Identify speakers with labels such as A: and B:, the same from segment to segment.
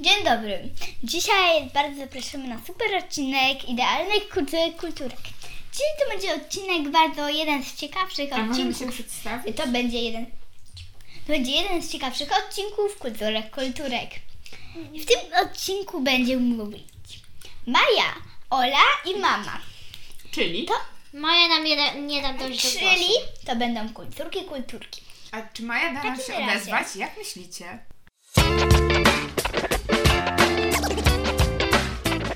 A: Dzień dobry. Dzisiaj bardzo zapraszamy na super odcinek idealnych kultu- kulturek. Dzisiaj to będzie odcinek bardzo jeden z ciekawszych
B: Tak,
C: A możemy się
A: odcinków.
C: przedstawić?
A: To będzie jeden. To będzie jeden z ciekawszych odcinków kulturek kulturek. W tym odcinku będzie mówić Maja, Ola i mama.
C: Czyli?
A: To,
B: Moja nam nie da, nie da dojść do
A: czyli
B: głosu.
A: to będą kulturki kulturki.
C: A czy Maja da nam
A: takim
C: się
A: razie.
C: odezwać? Jak myślicie?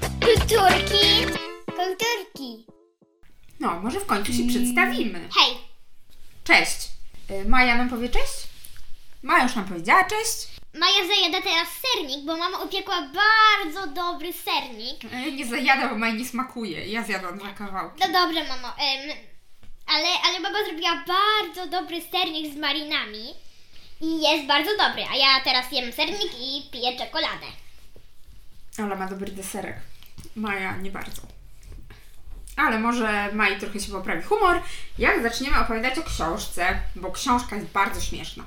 A: Kulturki kulturki.
C: No, może w końcu się przedstawimy.
B: Mm, Hej,
C: Cześć! Y, Maja nam powie cześć? Maja już nam powiedziała cześć.
B: Maja zajada teraz sernik, bo mama upiekła bardzo dobry sernik.
C: Y, Nie zajada, bo Maja nie smakuje. Ja zjadłam dwa kawałki.
B: No dobrze, mamo. Em, ale, ale mama zrobiła bardzo dobry sernik z marinami. I jest bardzo dobry, a ja teraz jem sernik i piję czekoladę.
C: Ola ma dobry deserek. Maja nie bardzo. Ale może Maji trochę się poprawi humor, jak zaczniemy opowiadać o książce, bo książka jest bardzo śmieszna.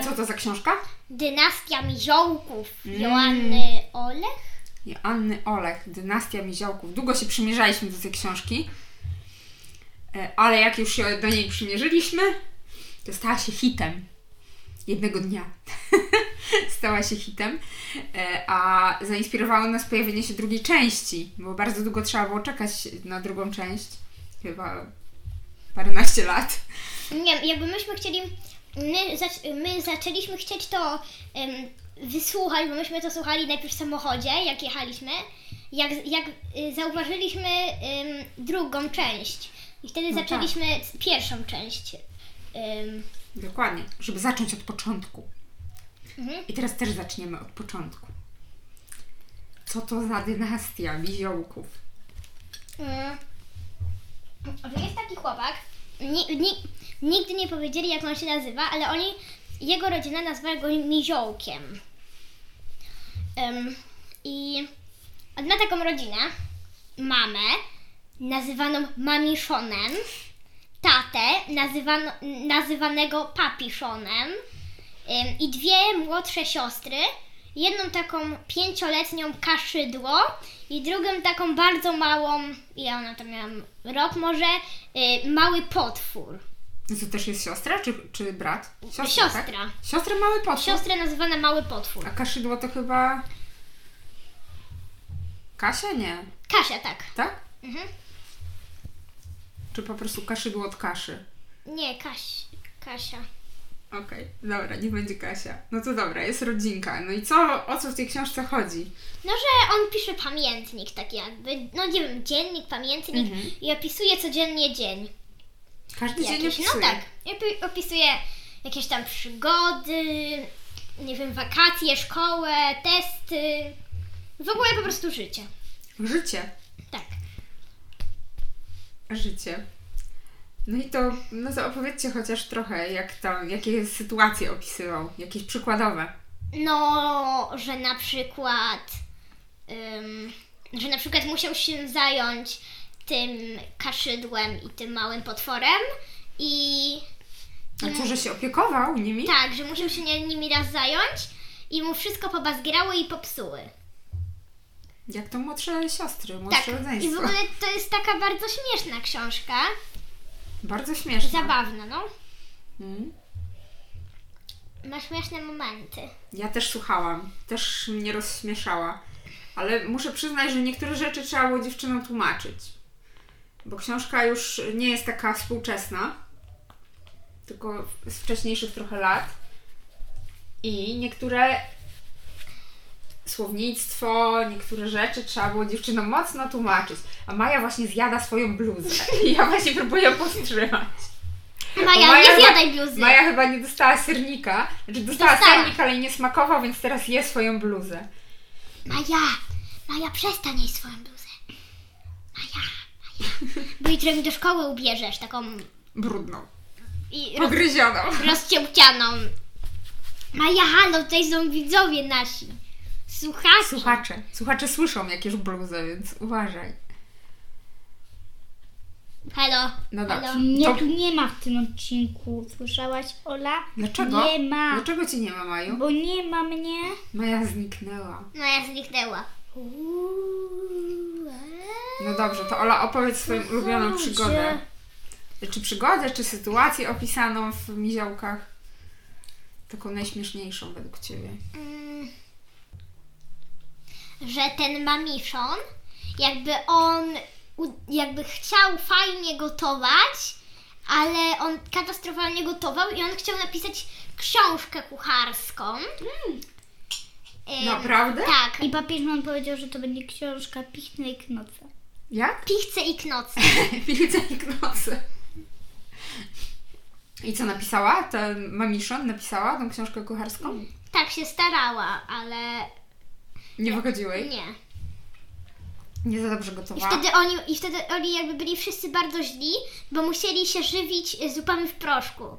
C: A co to za książka?
B: Dynastia Miziołków
C: Mm.
B: Joanny Olech?
C: Joanny Olech, Dynastia Miziołków. Długo się przymierzaliśmy do tej książki, e, ale jak już się do niej przymierzyliśmy, to stała się hitem. Jednego dnia stała się hitem, e, a zainspirowało nas pojawienie się drugiej części, bo bardzo długo trzeba było czekać na drugą część, chyba paręnaście lat.
B: Nie wiem, jakby myśmy chcieli, my, zac, my zaczęliśmy chcieć to em, wysłuchać, bo myśmy to słuchali najpierw w samochodzie, jak jechaliśmy, jak, jak y, zauważyliśmy em, drugą część. I wtedy
C: No tak.
B: zaczęliśmy z- pierwszą część. Em,
C: Dokładnie, żeby zacząć od początku.
B: Mhm.
C: I teraz też zaczniemy od początku. Co to za dynastia Miziołków?
B: mm, że jest taki chłopak, ni, ni, nigdy nie powiedzieli jak on się nazywa, ale oni, jego rodzina nazwała go Miziołkiem. Em, I on ma taką rodzinę, mamę, nazywaną mamiszonem, tatę, nazywano, nazywanego papiszonem em, i dwie młodsze siostry, jedną taką pięcioletnią kaszydło i drugą taką bardzo małą, ile ona tam miała, rok może, y, mały potwór.
C: No To też jest siostra czy, czy brat? Tak?
B: Siostra.
C: Siostra mały potwór.
B: Siostrę nazywana mały potwór.
C: A kaszydło to chyba... Kasia? Nie.
B: Kasia, tak.
C: Tak?
B: Mhm.
C: Czy po prostu kaszydło od kaszy?
B: Nie, Kaś, Kasia.
C: Okej, dobra, nie będzie Kasia. No to dobra, jest rodzinka. No i co, o co w tej książce chodzi?
B: No, że on pisze pamiętnik, tak jakby, no nie wiem, dziennik, pamiętnik i opisuje codziennie dzień.
C: Każdy dzień
B: Jakiś,
C: opisuje.
B: no tak, I opi- opisuje jakieś tam przygody, nie wiem, wakacje, szkołę, testy, w ogóle po prostu życie.
C: Życie.
B: Tak.
C: Życie. No i to, no to opowiedzcie chociaż trochę, jak tam, jakie sytuacje opisywał, jakieś przykładowe.
B: No, że na przykład, ym, że na przykład musiał się zająć tym kaszydłem i tym małym potworem i
C: A co, że się opiekował nimi?
B: tak, że musiał się nie- nimi raz zająć i mu wszystko pobazgrało i popsuły.
C: Jak to młodsze siostry, młodsze
B: Tak,
C: rodzeństwo.
B: i w ogóle to jest taka bardzo śmieszna książka,
C: Bardzo śmieszne.
B: zabawna, no.
C: Mm.
B: Ma śmieszne momenty.
C: Ja też słuchałam, też mnie rozśmieszała, ale muszę przyznać, że niektóre rzeczy trzeba było dziewczynom tłumaczyć, bo książka już nie jest taka współczesna, tylko z wcześniejszych trochę lat i niektóre słownictwo, niektóre rzeczy trzeba było dziewczynom mocno tłumaczyć, a Maja właśnie zjada swoją bluzę i ja właśnie próbuję ją powstrzymać.
B: Maja,
C: Maja ma-
B: nie zjadaj bluzy.
C: Maja No chyba nie dostała sernika. Znaczy dostała,
B: Dostała.
C: sernik, ale jej nie smakował, więc teraz je swoją bluzę.
B: Maja, Maja, przestań jej swoją bluzę. Maja, Maja. Bo jutro mi do szkoły ubierzesz taką
C: Brudną.
B: i roz,
C: Pogryzioną.
B: rozciełcianą. Maja, halo, tutaj są widzowie nasi. Słuchacze.
C: Słuchacze. Słuchacze słyszą jakieś bluzy, więc uważaj.
A: Halo.
C: No dobrze.
A: Halo.
B: Nie,
C: To-
B: tu nie ma w tym odcinku. Słyszałaś, Ola?
C: Dlaczego?
B: Nie ma.
C: Dlaczego cię nie ma, Maju?
B: Bo nie ma mnie.
C: Maja zniknęła.
A: No ja zniknęła.
B: e.
C: No dobrze, to Ola opowiedz
B: No
C: swoją ulubioną przygodę. Czy przygodę, czy sytuację opisaną w Miziołkach? Taką najśmieszniejszą według Ciebie.
A: Mm, że ten mamiszon, jakby on u- jakby chciał fajnie gotować, ale on katastrofalnie gotował i on chciał napisać książkę kucharską. Ym,
C: No, Naprawdę?
A: Tak.
B: I papieżman powiedział, że to będzie książka Pichny i Knoca.
C: Jak?
A: Pichce i knoce.
C: Widzę i nosy. I co napisała? Ten Mamiszon napisała tą książkę kucharską?
A: Tak się starała, ale
C: Nie wychodziło jej?
A: nie.
C: Nie za dobrze
A: I
C: gotowała?
A: wtedy, oni, I wtedy oni jakby byli wszyscy bardzo źli, bo musieli się żywić y, zupami w proszku.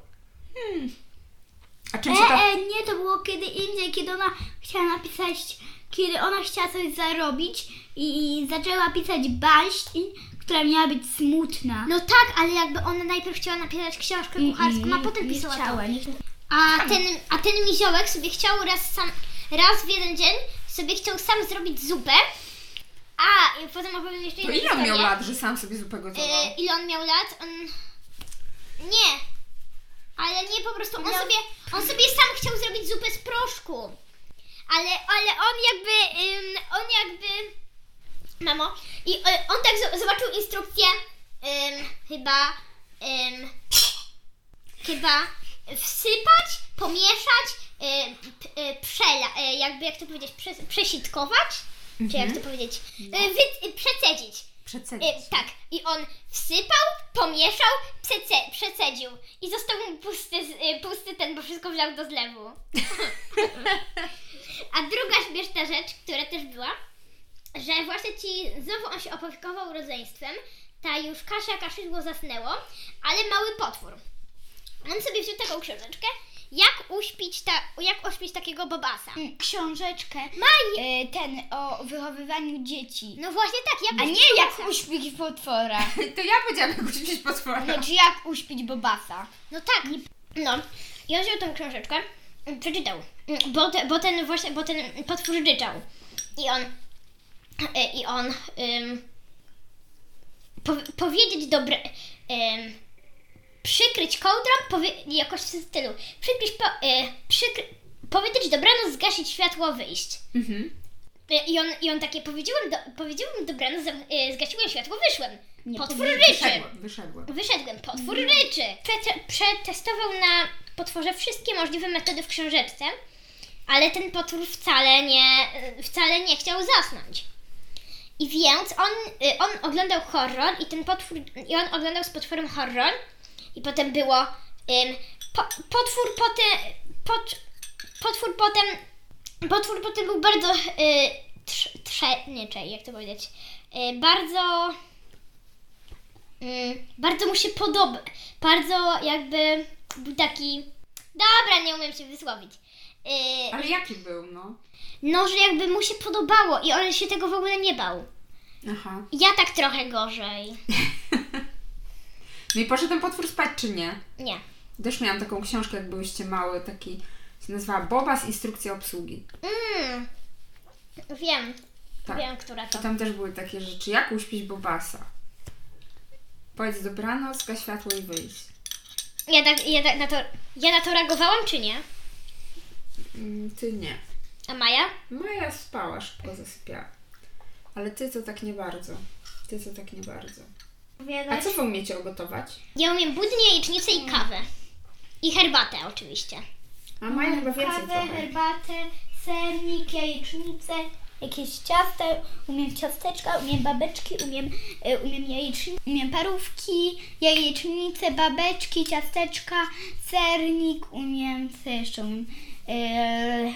C: A
B: E,
C: czym się to...
B: e, nie, to było kiedy indziej, kiedy ona chciała napisać, kiedy ona chciała coś zarobić i, i zaczęła pisać baśń, która miała być smutna.
A: No tak, ale jakby ona najpierw chciała napisać książkę kucharską, a potem pisała
B: nie chciała,
A: to.
B: nie chciała.
A: A ten, a ten miziołek sobie chciał raz sam, raz w jeden dzień sobie chciał sam zrobić zupę. A, i potem opowiem jeszcze
C: To
A: jedną
C: ile on miał
A: historię.
C: lat, że sam sobie zupę gotował?
A: E, ile on miał lat? On... Nie. Ale nie po prostu. On, sobie, on sobie sam chciał zrobić zupę z proszku. Ale, ale on jakby. ym, on jakby. Mamo. I e, on tak zo- zobaczył instrukcję. ym, chyba. ym, chyba wsypać, pomieszać, y, p- y, przela, y, jakby jak to powiedzieć, prze, przesitkować, czy jak to powiedzieć, y, wy, y, przecedzić.
C: Przecenić.
A: E, tak, i on wsypał, pomieszał, przece- przecedził. I został mu pusty, z- e, pusty ten, bo wszystko wlał do zlewu. A druga śmieszna rzecz, która też była, że właśnie ci znowu on się opiekował rodzeństwem. Ta już Kasia kaszydło zasnęło, ale mały potwór. On sobie wziął taką książeczkę, jak uśpić, ta, jak ośpić takiego babasa.
B: Mm. Książeczkę
A: Maj!
B: e, ten o wychowywaniu dzieci.
A: No właśnie tak, jak
B: A nie jak uśpić potwora.
C: To ja powiedziałam, jak uśpić potwora.
B: Znaczy jak uśpić bobasa.
A: No tak. No. I on wziął tą książeczkę, mm, przeczytał, Mm, bo, te, bo ten właśnie, bo ten potwór ryczał. I on, y, i on ym, po, powiedzieć dobre, ym, przykryć kołdrą, powie, jakoś w stylu, przykryć, po, y, przykry, powiedzieć dobranoc, zgasić światło, wyjść.
C: Mhm.
A: Y, I on, I on takie, powiedziałem, do, powiedziałem dobranoc, zam- y, zgasiłem światło, wyszłem.
B: Nie
A: Potwór
B: powiedział.
A: ryczy.
C: Wyszedłem, wyszedłem.
A: Wyszedłem, potwór ryczy. Prete- przetestował na potworze wszystkie możliwe metody w książeczce, ale ten potwór wcale nie, wcale nie chciał zasnąć. I więc on, y, on oglądał horror i ten potwór, i on oglądał z potworem horror i potem było ym, po, potwór potem, pot, potwór potem, potwór potem był bardzo y, trze, trze, nie, czekaj, jak to powiedzieć, y, bardzo... Mm, bardzo mu się podoba. Bardzo jakby był taki. Dobra, nie umiem się wysłowić. Yy,
C: Ale jaki był, no?
A: no, że jakby mu się podobało i on się tego w ogóle nie bał.
C: Aha.
A: Ja tak trochę gorzej.
C: No i poszedł ten potwór spać, czy nie?
A: Nie.
C: Też miałam taką książkę, jak byłyście małe, taki, się nazywała Bobas Instrukcja Obsługi.
A: Mm. Wiem,
C: Tak.
A: wiem, która
C: I
A: to.
C: tam też były takie rzeczy, jak uśpić Bobasa. Powiedz dobranoc, gaś światło i wyjść.
A: Ja, tak, ja, tak na to. Ja na to reagowałam, czy nie?
C: Mm, Ty nie.
A: A Maja?
C: Maja spała, szybko zasypiała. Ale ty to tak nie bardzo. Ty to tak nie bardzo. A co wy umiecie ugotować?
A: Ja umiem budnie, jajecznicę i kawę. I herbatę oczywiście.
C: A Maja chyba więcej
B: Kawę,
C: trochę.
B: herbatę, sernik, jajecznicę, jakieś ciasta, umiem ciasteczka, umiem babeczki, umiem, e, umiem jajecznicę, umiem parówki, jajecznice, babeczki, ciasteczka, sernik, umiem, co jeszcze umiem, e,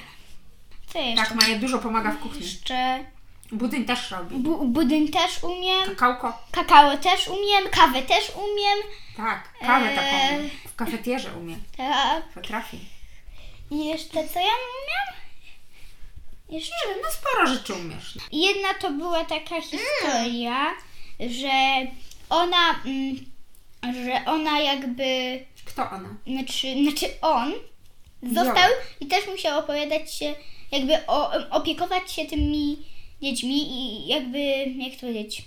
B: co jeszcze,
C: Tak, Maja dużo pomaga w kuchni.
B: jeszcze,
C: Budyń też robi.
B: bu, budyń też umiem,
C: Kakałko.
B: kakao też umiem, kawę też umiem,
C: Tak, kawę taką.
B: Eee.
C: W kafetierze umie.
B: tak,
C: Potrafi.
B: i jeszcze co ja umiem? Jeszcze
C: No sporo rzeczy umiesz.
B: Jedna to była taka historia, że ona mm, że ona jakby,
C: Kto ona?
B: znaczy, znaczy on został
C: Wziąłem.
B: i też musiał opowiadać się, jakby o, opiekować się tymi dziećmi i jakby, jak to powiedzieć,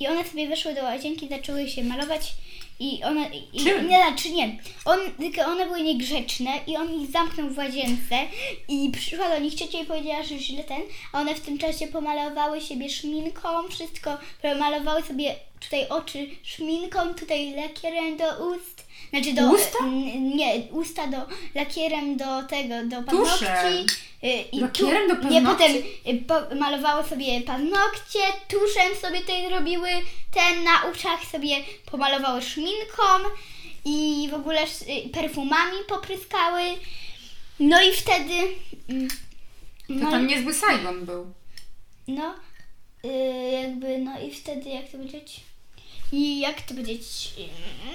B: i one sobie weszły do łazienki, zaczęły się malować i one, i,
C: Czym?
B: nie, znaczy nie, on, tylko one były niegrzeczne i on ich zamknął w łazience i przyszła do nich ciocia i powiedziała, że źle ten, a one w tym czasie pomalowały siebie szminką, wszystko, pomalowały sobie tutaj oczy szminką, tutaj lakierem do ust, znaczy do...
C: Usta?
B: n- Nie, usta do, lakierem do tego, do paznokci.
C: Tuszem.
B: y, i
C: Lakierem do
B: Nie,
C: paznokci?
B: potem y, po, malowały sobie paznokcie, tuszem sobie tutaj robiły, ten na uszach sobie pomalowały szminką i w ogóle y, perfumami popryskały. No i wtedy... mm,
C: To
B: No,
C: tam
B: i-
C: niezły Saigon był.
B: no y, jakby, no i wtedy, jak to powiedzieć... I jak to powiedzieć? y,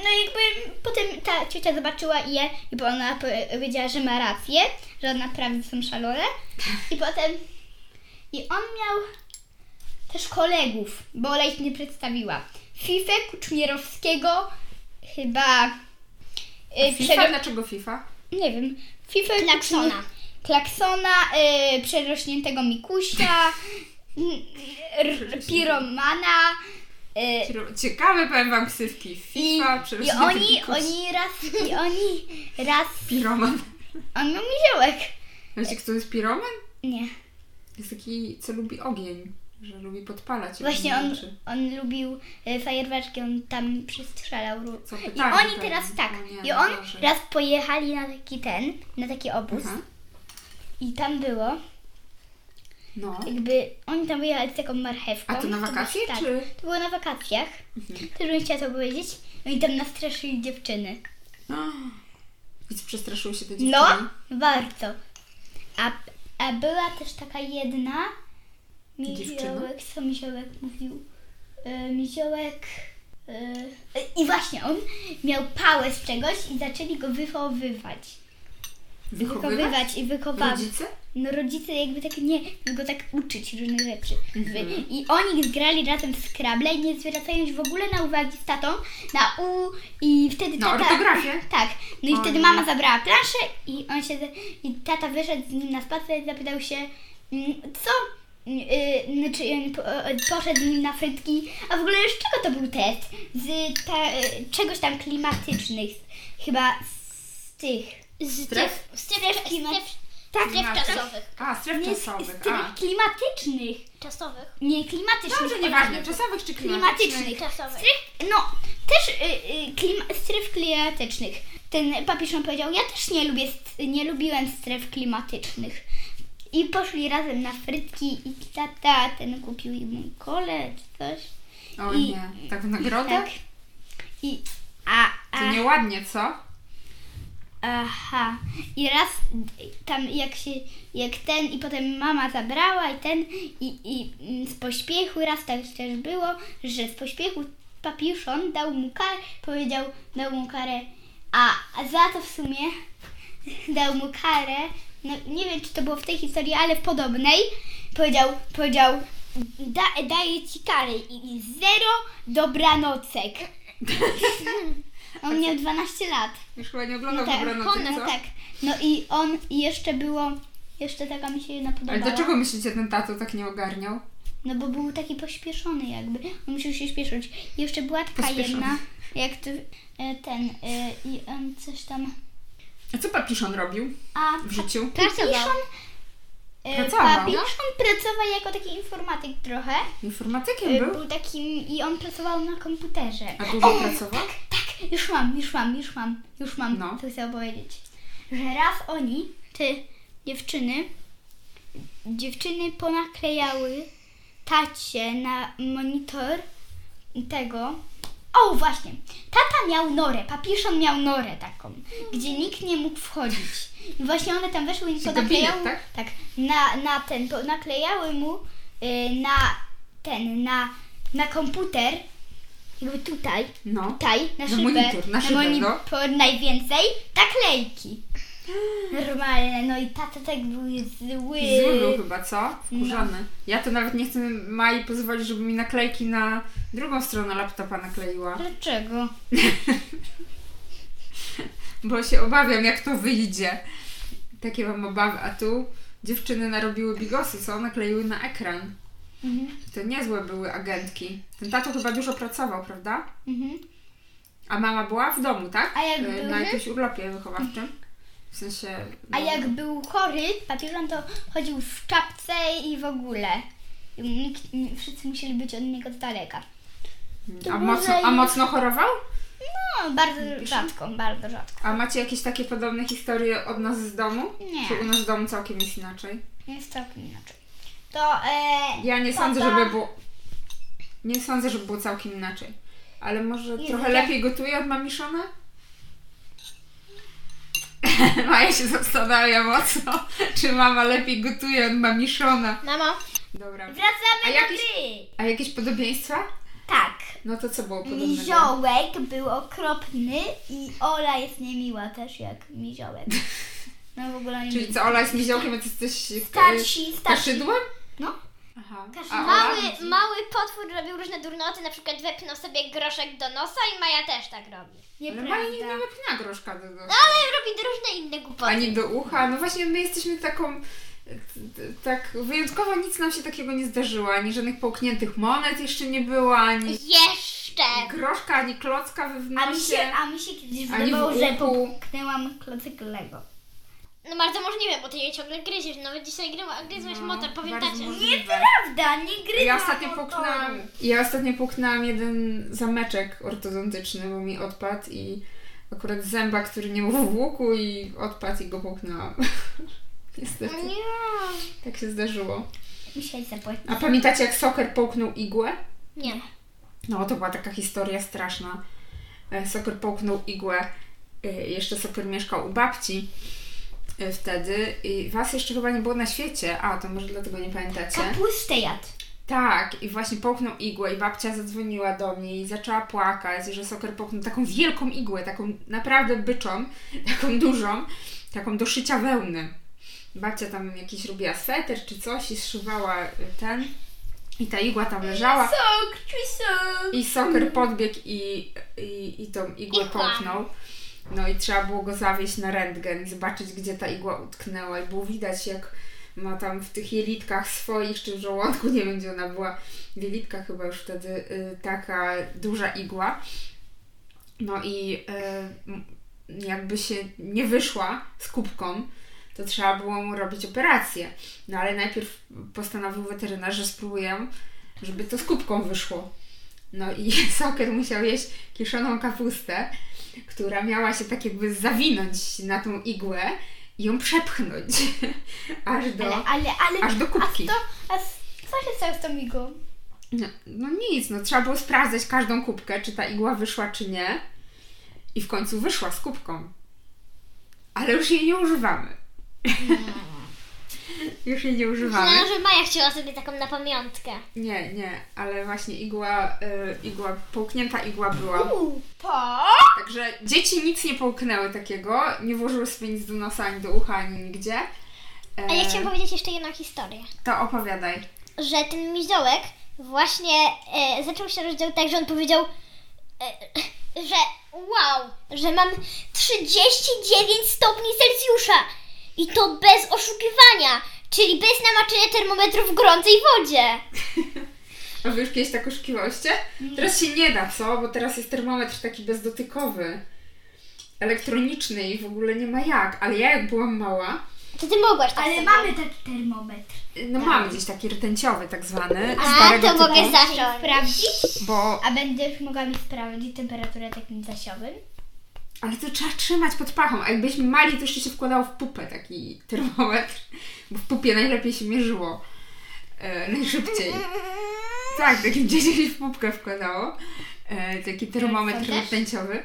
B: No jakby potem ta ciocia zobaczyła je i bo ona po- powiedziała, że ma rację, że one naprawdę są szalone. I potem i on miał też kolegów, bo Ola ich nie przedstawiła. Fifę Kuczmierowskiego chyba y,
C: FIFA?
B: przero-
C: Dlaczego FIFA?
B: nie wiem, Fifę
A: Klaksona.
B: Kuczmier- Klaksona, y, przerośniętego Mikusia, n- r- piromana. y,
C: Ciekawe powiem wam ksywki.
B: i,
C: FIFA,
B: i
C: przeróżniki,
B: oni,
C: kości,
B: oni raz, i oni raz,
C: Piroman.
B: on miał miziołek.
C: Wiecie, kto jest piroman?
B: Nie,
C: Jest taki, co lubi ogień. Że lubi podpalać.
B: właśnie
C: różne
B: on,
C: rzeczy.
B: on lubił y, fajerwerki, on tam przestrzelał. ró-
C: Co
B: I
C: pytanie,
B: oni
C: tak,
B: teraz tak,
C: zapomniałam,
B: i on
C: Boże.
B: raz pojechali na taki ten, na taki obóz
C: Aha.
B: i tam było,
C: No.
B: jakby oni tam wyjechali z taką marchewką.
C: A to na
B: było-
C: wakacje,
B: Tak,
C: czy-
B: to było na wakacjach,
C: Mhm.
B: też bym chciała to powiedzieć. No i tam nastraszyli dziewczyny.
C: No. Więc przestraszyły się te dziewczyny.
B: No, warto. A, a była też taka jedna
C: Dziewczyna?
B: Miziołek, co Miziołek mówił? Yy, Miziołek... y, I właśnie, on miał pałę z czegoś i zaczęli go wychowywać.
C: Wychowywać?
B: i wychowywać.
C: Rodzice?
B: No rodzice jakby tak nie, go tak uczyć różnych rzeczy.
C: Mhm.
B: I oni grali razem w Scrabble, nie zwracając w ogóle na uwagi z tatą, na U i wtedy
C: Na
B: tata...
C: ortografię?
B: Tak. No i
C: O
B: wtedy
C: nie.
B: mama zabrała planszę i on się... I tata wyszedł z nim na spacer i zapytał się, mm, co... Yy, znaczy on po, o- poszedł z nim na frytki, a w ogóle z czego to był test? Z ta, y, czegoś tam klimatycznych, chyba z tych...
A: Z
C: Stref?
A: stref, stref, stref,
B: Tak,
A: stref
C: Klimatycznych?
A: czasowych.
C: A, stref
B: nie z, z
C: czasowych.
B: tych
C: A.
B: klimatycznych.
A: Czasowych.
B: Nie, klimatycznych.
C: Dobrze, nieważne. Czasowych czy klimatycznych?
B: Klimatycznych.
A: Czasowych.
B: Stryf, no, też y, y, klima, stref klimatycznych. Ten papież on powiedział, ja też nie lubię, st- nie lubiłem stref klimatycznych. I poszli razem na frytki i tata ten kupił im kole czy coś.
C: O
B: I-
C: nie. Tak w nagrodę?
B: Tak. I, a, a,
C: To nieładnie, co?
B: Aha. I raz tam jak się, jak ten i potem mama zabrała i ten i, i mm, z pośpiechu raz tak też było, że z pośpiechu papiszon dał mu karę, powiedział, dał mu karę, a a za to w sumie dał mu karę, no nie wiem czy to było w tej historii, ale w podobnej, powiedział, powiedział, da, daję ci karę i i zero dobranocek. On miał 12 lat.
C: Już chyba nie oglądał
B: No tak,
C: dobranocy,
B: No
C: co?
B: tak. No i on i jeszcze było, jeszcze taka mi się jedna
C: Ale
B: podobała.
C: dlaczego myślicie, ten tato tak nie ogarniał?
B: No bo był taki pośpieszony jakby. On musiał się śpieszyć. I jeszcze była taka
C: Pośpieszony.
B: jedna, jak to, e, ten, e, i on coś tam...
C: A co papiszon robił
B: A
C: w życiu?
B: papiszon... e,
C: Pracował.
B: Papiszon pracował jako taki informatyk trochę.
C: Informatykiem
B: E,
C: był?
B: Był takim i on pracował na komputerze.
C: A dużo pracował?
B: Tak, już mam, już mam, już mam, już mam,
C: No.
B: co chcę powiedzieć. Że raz oni, te dziewczyny, dziewczyny ponaklejały tacie na monitor tego. O, właśnie. Tata miał norę, papiszon miał norę taką, gdzie nikt nie mógł wchodzić. I właśnie one tam weszły i
C: Czyli
B: ponaklejały.
C: gabinet, tak?
B: Tak, na, na ten, ponaklejały mu y, na ten, na, na komputer, jakby tutaj,
C: No.
B: tutaj, na
C: Na
B: szybę,
C: monitor, na szybę, no.
B: monitor najwięcej, taklejki. tak Normalne, no i tata tak był zły.
C: Zulu chyba, co? Wkurzony.
B: No.
C: Ja to nawet nie chcę Mai pozwolić, żeby mi naklejki na drugą stronę laptopa nakleiła,
B: Dlaczego?
C: bo się obawiam, jak to wyjdzie. Takie mam obawy, a tu dziewczyny narobiły bigosy, co? Nakleiły na ekran.
B: Mhm.
C: To niezłe były agentki. Ten tato chyba dużo pracował, prawda?
B: Mhm.
C: A mama była w domu, tak?
B: A jak
C: Y,
B: były?
C: Na jakimś urlopie wychowawczym. W sensie...
B: A
C: no,
B: jak był chory, papieżon, to chodził w czapce i w ogóle. I Nikt, wszyscy musieli być od niego z daleka. to
C: A
B: było
C: mocno, a
B: zajęcie.
C: mocno chorował?
B: No, bardzo rzadko, bardzo rzadko.
C: A macie jakieś takie podobne historie od nas z domu?
B: Nie.
C: Czy u nas w domu całkiem jest inaczej?
B: Jest całkiem inaczej. To e,
C: Ja nie sądzę,
B: Tata-
C: żeby było... Nie sądzę, żeby było całkiem inaczej. Ale może
B: Nie,
C: trochę
B: tak.
C: lepiej gotuje od mamiszona? Maja się zastanawia mocno, czy mama lepiej gotuje od mamiszona.
A: Mamo,
C: Dobra.
B: wracamy
C: A
B: do
C: jakieś-
B: gry.
C: A jakieś podobieństwa?
B: Tak.
C: No to co było podobnego?
B: Miziołek był okropny i Ola jest niemiła też jak miziołek. No w ogóle nie
C: Czyli co, Ola jest niziołkiem, a ty jesteś e,
B: Starsi, starsi.
C: kaszydłem?
B: No.
C: Aha.
B: Kaszy-
C: A Ola?
A: mały, mały potwór robił różne durnoty, na przykład wepnął sobie groszek do nosa i Maja też tak robi.
C: Ale Maja nie, nie
B: Nieprawda.
C: wypina groszka do do-
A: Ale robi różne inne głupoty.
C: Ani do ucha. No właśnie, my jesteśmy taką. t- Tak, wyjątkowo nic nam się takiego nie zdarzyło, ani żadnych połkniętych monet jeszcze nie było, ani
A: Jeszcze!
C: groszka, ani klocka we w
B: A mi się,
C: nosie.
B: a mi się kiedyś
C: Ani w
B: wydawało, że
C: uchu.
B: popknęłam klocek Lego.
A: No bardzo możliwe, bo ty jej ciągle gryziesz. Nawet dzisiaj grywa, gryzłeś
C: No,
A: motor, powiem
C: bardzo
A: tacie.
C: możliwe.
B: Prawda, nie gry
C: Ja ostatnio połknęłam, ja ostatnio połknęłam jeden zameczek ortodontyczny, bo mi odpadł i akurat zęba, który nie był w łuku i odpadł i go połknęłam. Niestety,
A: Nie.
C: tak się zdarzyło.
B: Musiałeś zapłacić.
C: A pamiętacie jak Soker połknął igłę?
A: Nie.
C: No, to była taka historia straszna. E, Soker połknął igłę. E, Jeszcze Soker mieszkał u babci e, wtedy i was jeszcze chyba nie było na świecie. A, to może dlatego nie pamiętacie.
B: Kapustę jadł.
C: Tak, i właśnie połknął igłę i babcia zadzwoniła do mnie i zaczęła płakać, że Soker połknął taką wielką igłę, taką naprawdę byczą, taką dużą, taką do szycia wełny. Babcia tam jakiś robiła sweter czy coś i zszywała e, ten i ta igła tam leżała.
B: Sok, czy sok.
C: I Soker podbiegł i, i, i tą igłę
A: Igła.
C: połknął. No i trzeba było go zawieźć na rentgen i zobaczyć, gdzie ta igła utknęła. I było widać, jak ma tam w tych jelitkach swoich, czy w żołądku, nie wiem gdzie ona była, w jelitkach chyba już wtedy, y, taka duża igła. No i y, m- jakby się nie wyszła z kubką, to trzeba było mu robić operację. No ale najpierw postanowił weterynarz, że spróbuję, żeby to z kubką wyszło. No i Soker musiał jeść kiszoną kapustę, która miała się tak jakby zawinąć na tą igłę i ją przepchnąć aż do,
B: Ale, ale, ale.
C: aż do kubki.
B: A, to, a s- co się stało z tą igłą?
C: No, no nic, no trzeba było sprawdzać każdą kubkę, czy ta igła wyszła, czy nie. I w końcu wyszła z kubką. Ale już jej nie używamy. już jej nie używamy.
A: Myślałam, No, że Maja chciała sobie taką na pamiątkę.
C: Nie, nie, ale właśnie igła, y, igła, połknięta igła była.
B: Uuu, po.
C: Także dzieci nic nie połknęły takiego, nie włożyły sobie nic do nosa, ani do ucha, ani nigdzie. E,
A: A ja chciałam powiedzieć jeszcze jedną historię.
C: To opowiadaj.
A: Że ten miziołek właśnie e, zaczął się rozdział tak, że on powiedział, e, że wow, że mam 39 stopni Celsjusza. I to bez oszukiwania, czyli bez namaczenia termometru w gorącej wodzie.
C: A wy już kiedyś tak oszukiwałyście? Teraz się nie da, co? Bo teraz jest termometr taki bezdotykowy, elektroniczny i w ogóle nie ma jak. Ale ja jak byłam mała,
A: To ty mogłaś tak
B: Ale
A: sobie.
B: mamy taki termometr.
C: no mamy gdzieś taki rtęciowy tak zwany,
A: Tak. A,
C: starego
A: to
C: typu,
A: mogę zacząć.
B: Sprawdzić?
C: bo...
B: A będziesz mogła mi sprawdzić temperaturę tak takim zasiowym?
C: Ale to trzeba trzymać pod pachą, a jakbyśmy mali, to jeszcze się wkładało w pupę taki termometr, bo w pupie najlepiej się mierzyło, e, najszybciej. Tak, takim dzieciaki w pupkę wkładało. E, taki termometr
B: Rodzice też?
C: rtęciowy.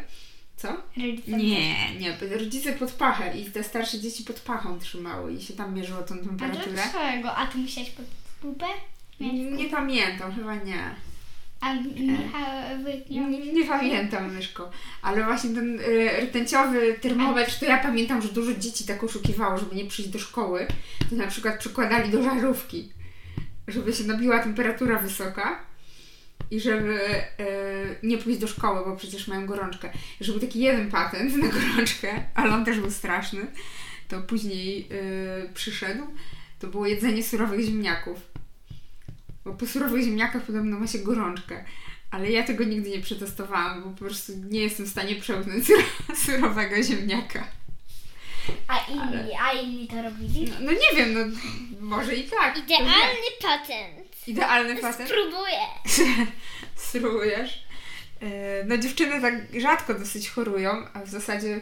C: Co?
B: Rodzice
C: Nie, nie. Rodzice pod pachę i te starsze dzieci pod pachą trzymały i się tam mierzyło tą
B: A
C: temperaturę.
B: dlaczego? A ty musiałeś pod pupę? Miałeś-
C: Nie pamiętam, chyba nie.
B: A Michał no.
C: Nie,
B: wygnał.
C: nie pamiętam, Myszko, ale właśnie ten y, rtęciowy termometr, to ja pamiętam, że dużo dzieci tak oszukiwało, żeby nie przyjść do szkoły, to na przykład przykładali do żarówki, żeby się nabiła temperatura wysoka i żeby y, nie pójść do szkoły, bo przecież mają gorączkę. Że był taki jeden patent na gorączkę, ale on też był straszny, to później y, przyszedł, to było jedzenie surowych ziemniaków. Bo po surowych ziemniakach podobno ma się gorączkę. Ale ja tego nigdy nie przetestowałam, bo po prostu nie jestem w stanie przełknąć sur- surowego ziemniaka.
B: A inni, a inni to robili?
C: No, no nie wiem, no może i tak. kto wie.
A: Idealny patent.
C: Idealny patent.
A: Próbuję.
C: Srujesz. E, No dziewczyny tak rzadko dosyć chorują, a w zasadzie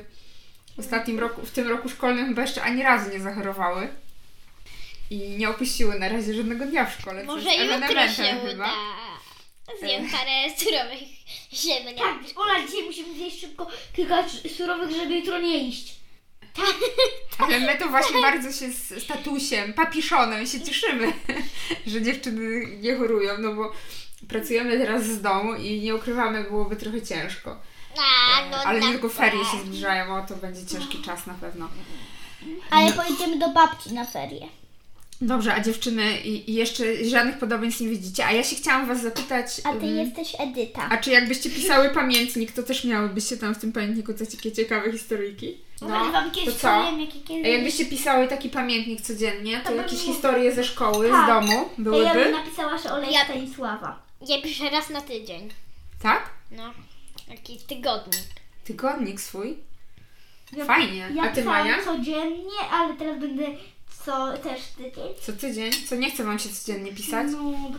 C: w ostatnim roku, w tym roku szkolnym chyba jeszcze ani razu nie zachorowały. I nie opuściły na razie żadnego dnia w szkole. co
A: Może
C: jest
A: jutro
C: elementem
A: się uda. Zjem parę surowych ziemniak.
B: Tak, Ola, dzisiaj musimy zjeść szybko kilka surowych, żeby jutro nie iść. Tak.
C: Ale my to właśnie bardzo się z statusem, papiszonem się cieszymy, że dziewczyny nie chorują, no bo pracujemy teraz z domu i nie ukrywamy, byłoby trochę ciężko.
A: A, no
C: Ale nie
A: tak.
C: tylko ferie się zbliżają, o to będzie ciężki czas na pewno. No.
B: Ale pojedziemy do babci na ferie.
C: Dobrze, a dziewczyny i, i jeszcze żadnych podobieństw nie widzicie, a ja się chciałam was zapytać,
B: A ty
C: mm,
B: jesteś Edyta.
C: a czy jakbyście pisały pamiętnik, to też miałybyście tam w tym pamiętniku te takie ciekawe historyjki?
B: Ale wam No. kiedyś
C: no. to co?
B: powiem, jakie
C: A
B: kiedyś...
C: Jakbyście pisały taki pamiętnik codziennie, to
B: To bym
C: jakieś
B: nie-
C: historie ze szkoły, z
B: Tak.
C: domu byłyby?
B: Ja bym napisała, że Olej
A: Ja-
B: Stanisława.
A: Ja piszę raz na tydzień.
C: Tak?
A: No, taki tygodnik.
C: Tygodnik swój. Fajnie.
B: Ja
C: A ty
B: pisałam
C: Maja?
B: codziennie, ale teraz będę co też tydzień.
C: Co tydzień? Co nie chce wam się codziennie pisać?
B: No, bo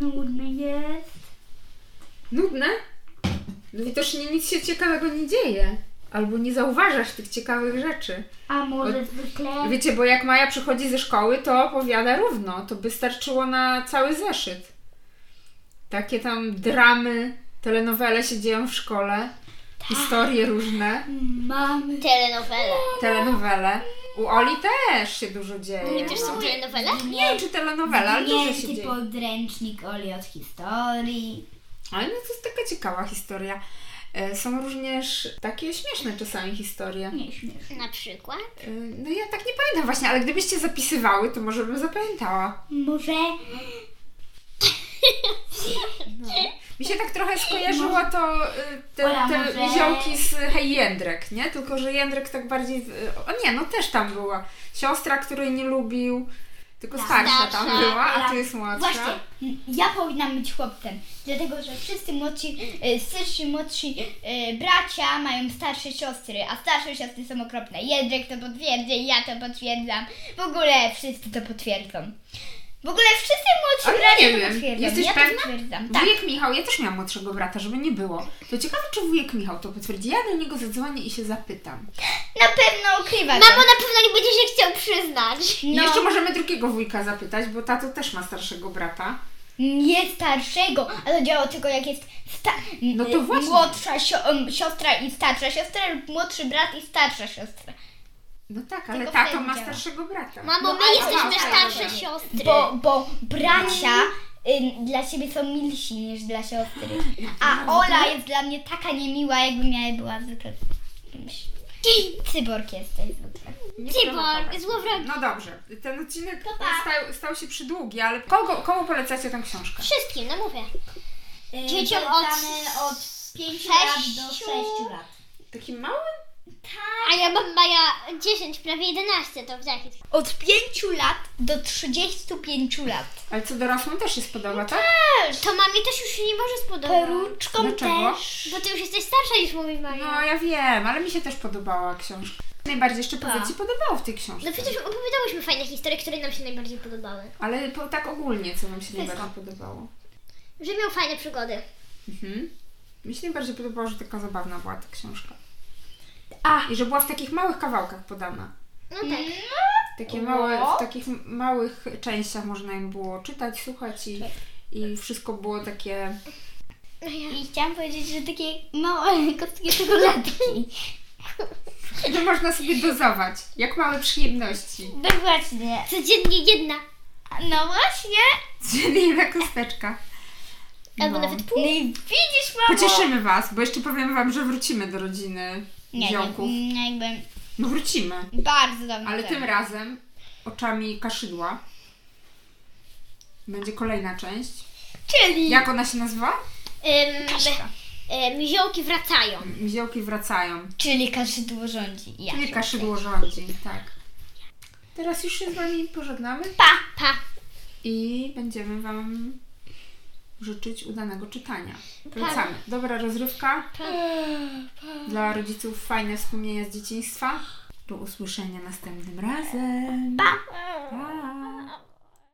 B: to nudne jest.
C: Nudne? No widocznie nic się ciekawego nie dzieje. Albo nie zauważasz tych ciekawych rzeczy.
B: A może zwykle...
C: Wiecie, bo jak Maja przychodzi ze szkoły, to opowiada równo. To by starczyło na cały zeszyt. Takie tam dramy, telenowele się dzieją w szkole.
B: Tak.
C: Historie różne,
B: Mamy...
A: Telenowele.
C: telenowele. U Oli też się dużo dzieje. No,
A: Nie też są telenowele?
C: Nie wiem, czy telenowela, ale dużo się dzieje.
B: podręcznik Oli od historii.
C: Ale no to jest taka ciekawa historia. E, Są również takie śmieszne czasami historie.
B: Nie śmiesz.
A: Na przykład?
C: E, No ja tak nie pamiętam właśnie, ale gdybyście zapisywały, to może bym zapamiętała.
B: Może...
C: Mi się tak trochę skojarzyło to e, te,
B: Ola,
C: te
B: może-
C: ziołki z Hej Jędrek, nie? Tylko, że Jędrek tak bardziej... e, O nie, no też tam była. Siostra, której nie lubił, tylko starsza tam
A: Starsza,
C: była, a tu
B: ale-
C: jest młodsza.
B: Właśnie, m, ja powinnam być chłopcem, dlatego że wszyscy młodsi, e, starsi młodsi e, bracia mają starsze siostry, a starsze siostry są okropne. Jędrek to potwierdzi, ja to potwierdzam. W ogóle wszyscy to potwierdzą. W ogóle wszyscy
C: Ale
B: młodsi
C: ja
B: bracia
C: nie
B: to
C: wiem.
B: potwierdzą.
C: Jesteś
B: ja
C: pewna?
B: to potwierdzam. Tak.
C: Wujek Michał, ja też miałam młodszego brata, żeby nie było. To ciekawe, czy wujek Michał to potwierdzi. Ja do niego zadzwonię i się zapytam.
B: Na pewno ukrywa
C: Tak.
B: to.
A: Mamo na pewno nie będzie się chciał przyznać.
C: I
B: No.
C: jeszcze możemy drugiego wujka zapytać, bo tato też ma starszego brata.
B: Nie starszego, ale to działa tylko jak jest sta-
C: No to
B: y,
C: właśnie.
B: młodsza sio- em, siostra i starsza siostra lub młodszy brat i starsza siostra.
C: No tak, ale
B: Tylko
C: tato
B: wtedy
C: ma
B: działa.
C: starszego brata. No,
A: Mamo, my
C: ale-
A: jesteśmy
C: ale-
A: starsze siostry.
B: Bo, bo bracia y, dla siebie są milsi niż dla siostry. A Ola jest dla mnie taka niemiła, jakbym ja była zwykle kimś. Cyborg jesteś zwykle.
C: Nie
A: Cyborg,
C: prowokować.
A: złowrogi. tak.
C: No dobrze, ten odcinek
B: To pa.
C: stał, stał się przydługi, ale kogo, komu polecacie tę książkę?
A: Wszystkim, no mówię.
B: Y,
A: Dzieciom od
B: polecamy od 5 lat do
A: sześciu.
B: 6 lat.
C: Takim małym?
A: A ja mam Maja 10, prawie 11, to w jakiej?
B: Od 5 lat do 35 lat.
C: Ale co dorosłym też się spodoba, tak?
A: To mamie też już się nie może spodobać.
B: Peruczką
C: Dlaczego?
B: też.
A: Bo ty już jesteś starsza niż mówi
C: No
A: Maja.
C: ja wiem, ale mi się też podobała książka. Najbardziej jeszcze poza ci podobało w tej książce.
A: Tak. No przecież opowiadałyśmy fajne historie, które nam się najbardziej podobały.
C: Ale po, tak ogólnie, co Wam się
B: Wszystko.
C: najbardziej podobało?
A: Że miał fajne przygody.
C: Mhm. Mi się najbardziej podobało, że taka zabawna była ta książka.
B: A.
C: I że była w takich małych kawałkach podana.
A: No tak.
C: Mhm. Takie
B: O.
C: małe, w takich m- małych częściach można im było czytać, słuchać i, i wszystko było takie...
B: I chciałam powiedzieć, że takie małe kostki czekoladki.
C: że można sobie dozować, jak małe przyjemności.
B: No właśnie.
A: Codziennie jedna.
B: No właśnie.
C: Czyli jedna kosteczka.
A: Albo
C: No.
A: nawet pół.
B: No i widzisz, mamo!
C: Pocieszymy Was, bo jeszcze powiem Wam, że wrócimy do rodziny
B: Nie,
C: ziomków.
B: nie, nie, jakby
C: No wrócimy.
B: bardzo dawno
C: Ale
B: temu.
C: tym razem oczami kaszydła będzie kolejna część.
B: Czyli...
C: Jak ona się nazywa?
A: Ym, ym, Miziołki wracają.
C: Miziołki wracają.
B: Czyli kaszydło rządzi. Ja.
C: Czyli kaszydło rządzi, tak. Teraz już się z Wami pożegnamy
A: Pa, pa.
C: i będziemy Wam życzyć udanego czytania. Wracamy. Dobra rozrywka. Dla rodziców fajne wspomnienia z dzieciństwa. Do usłyszenia następnym razem. Pa! pa.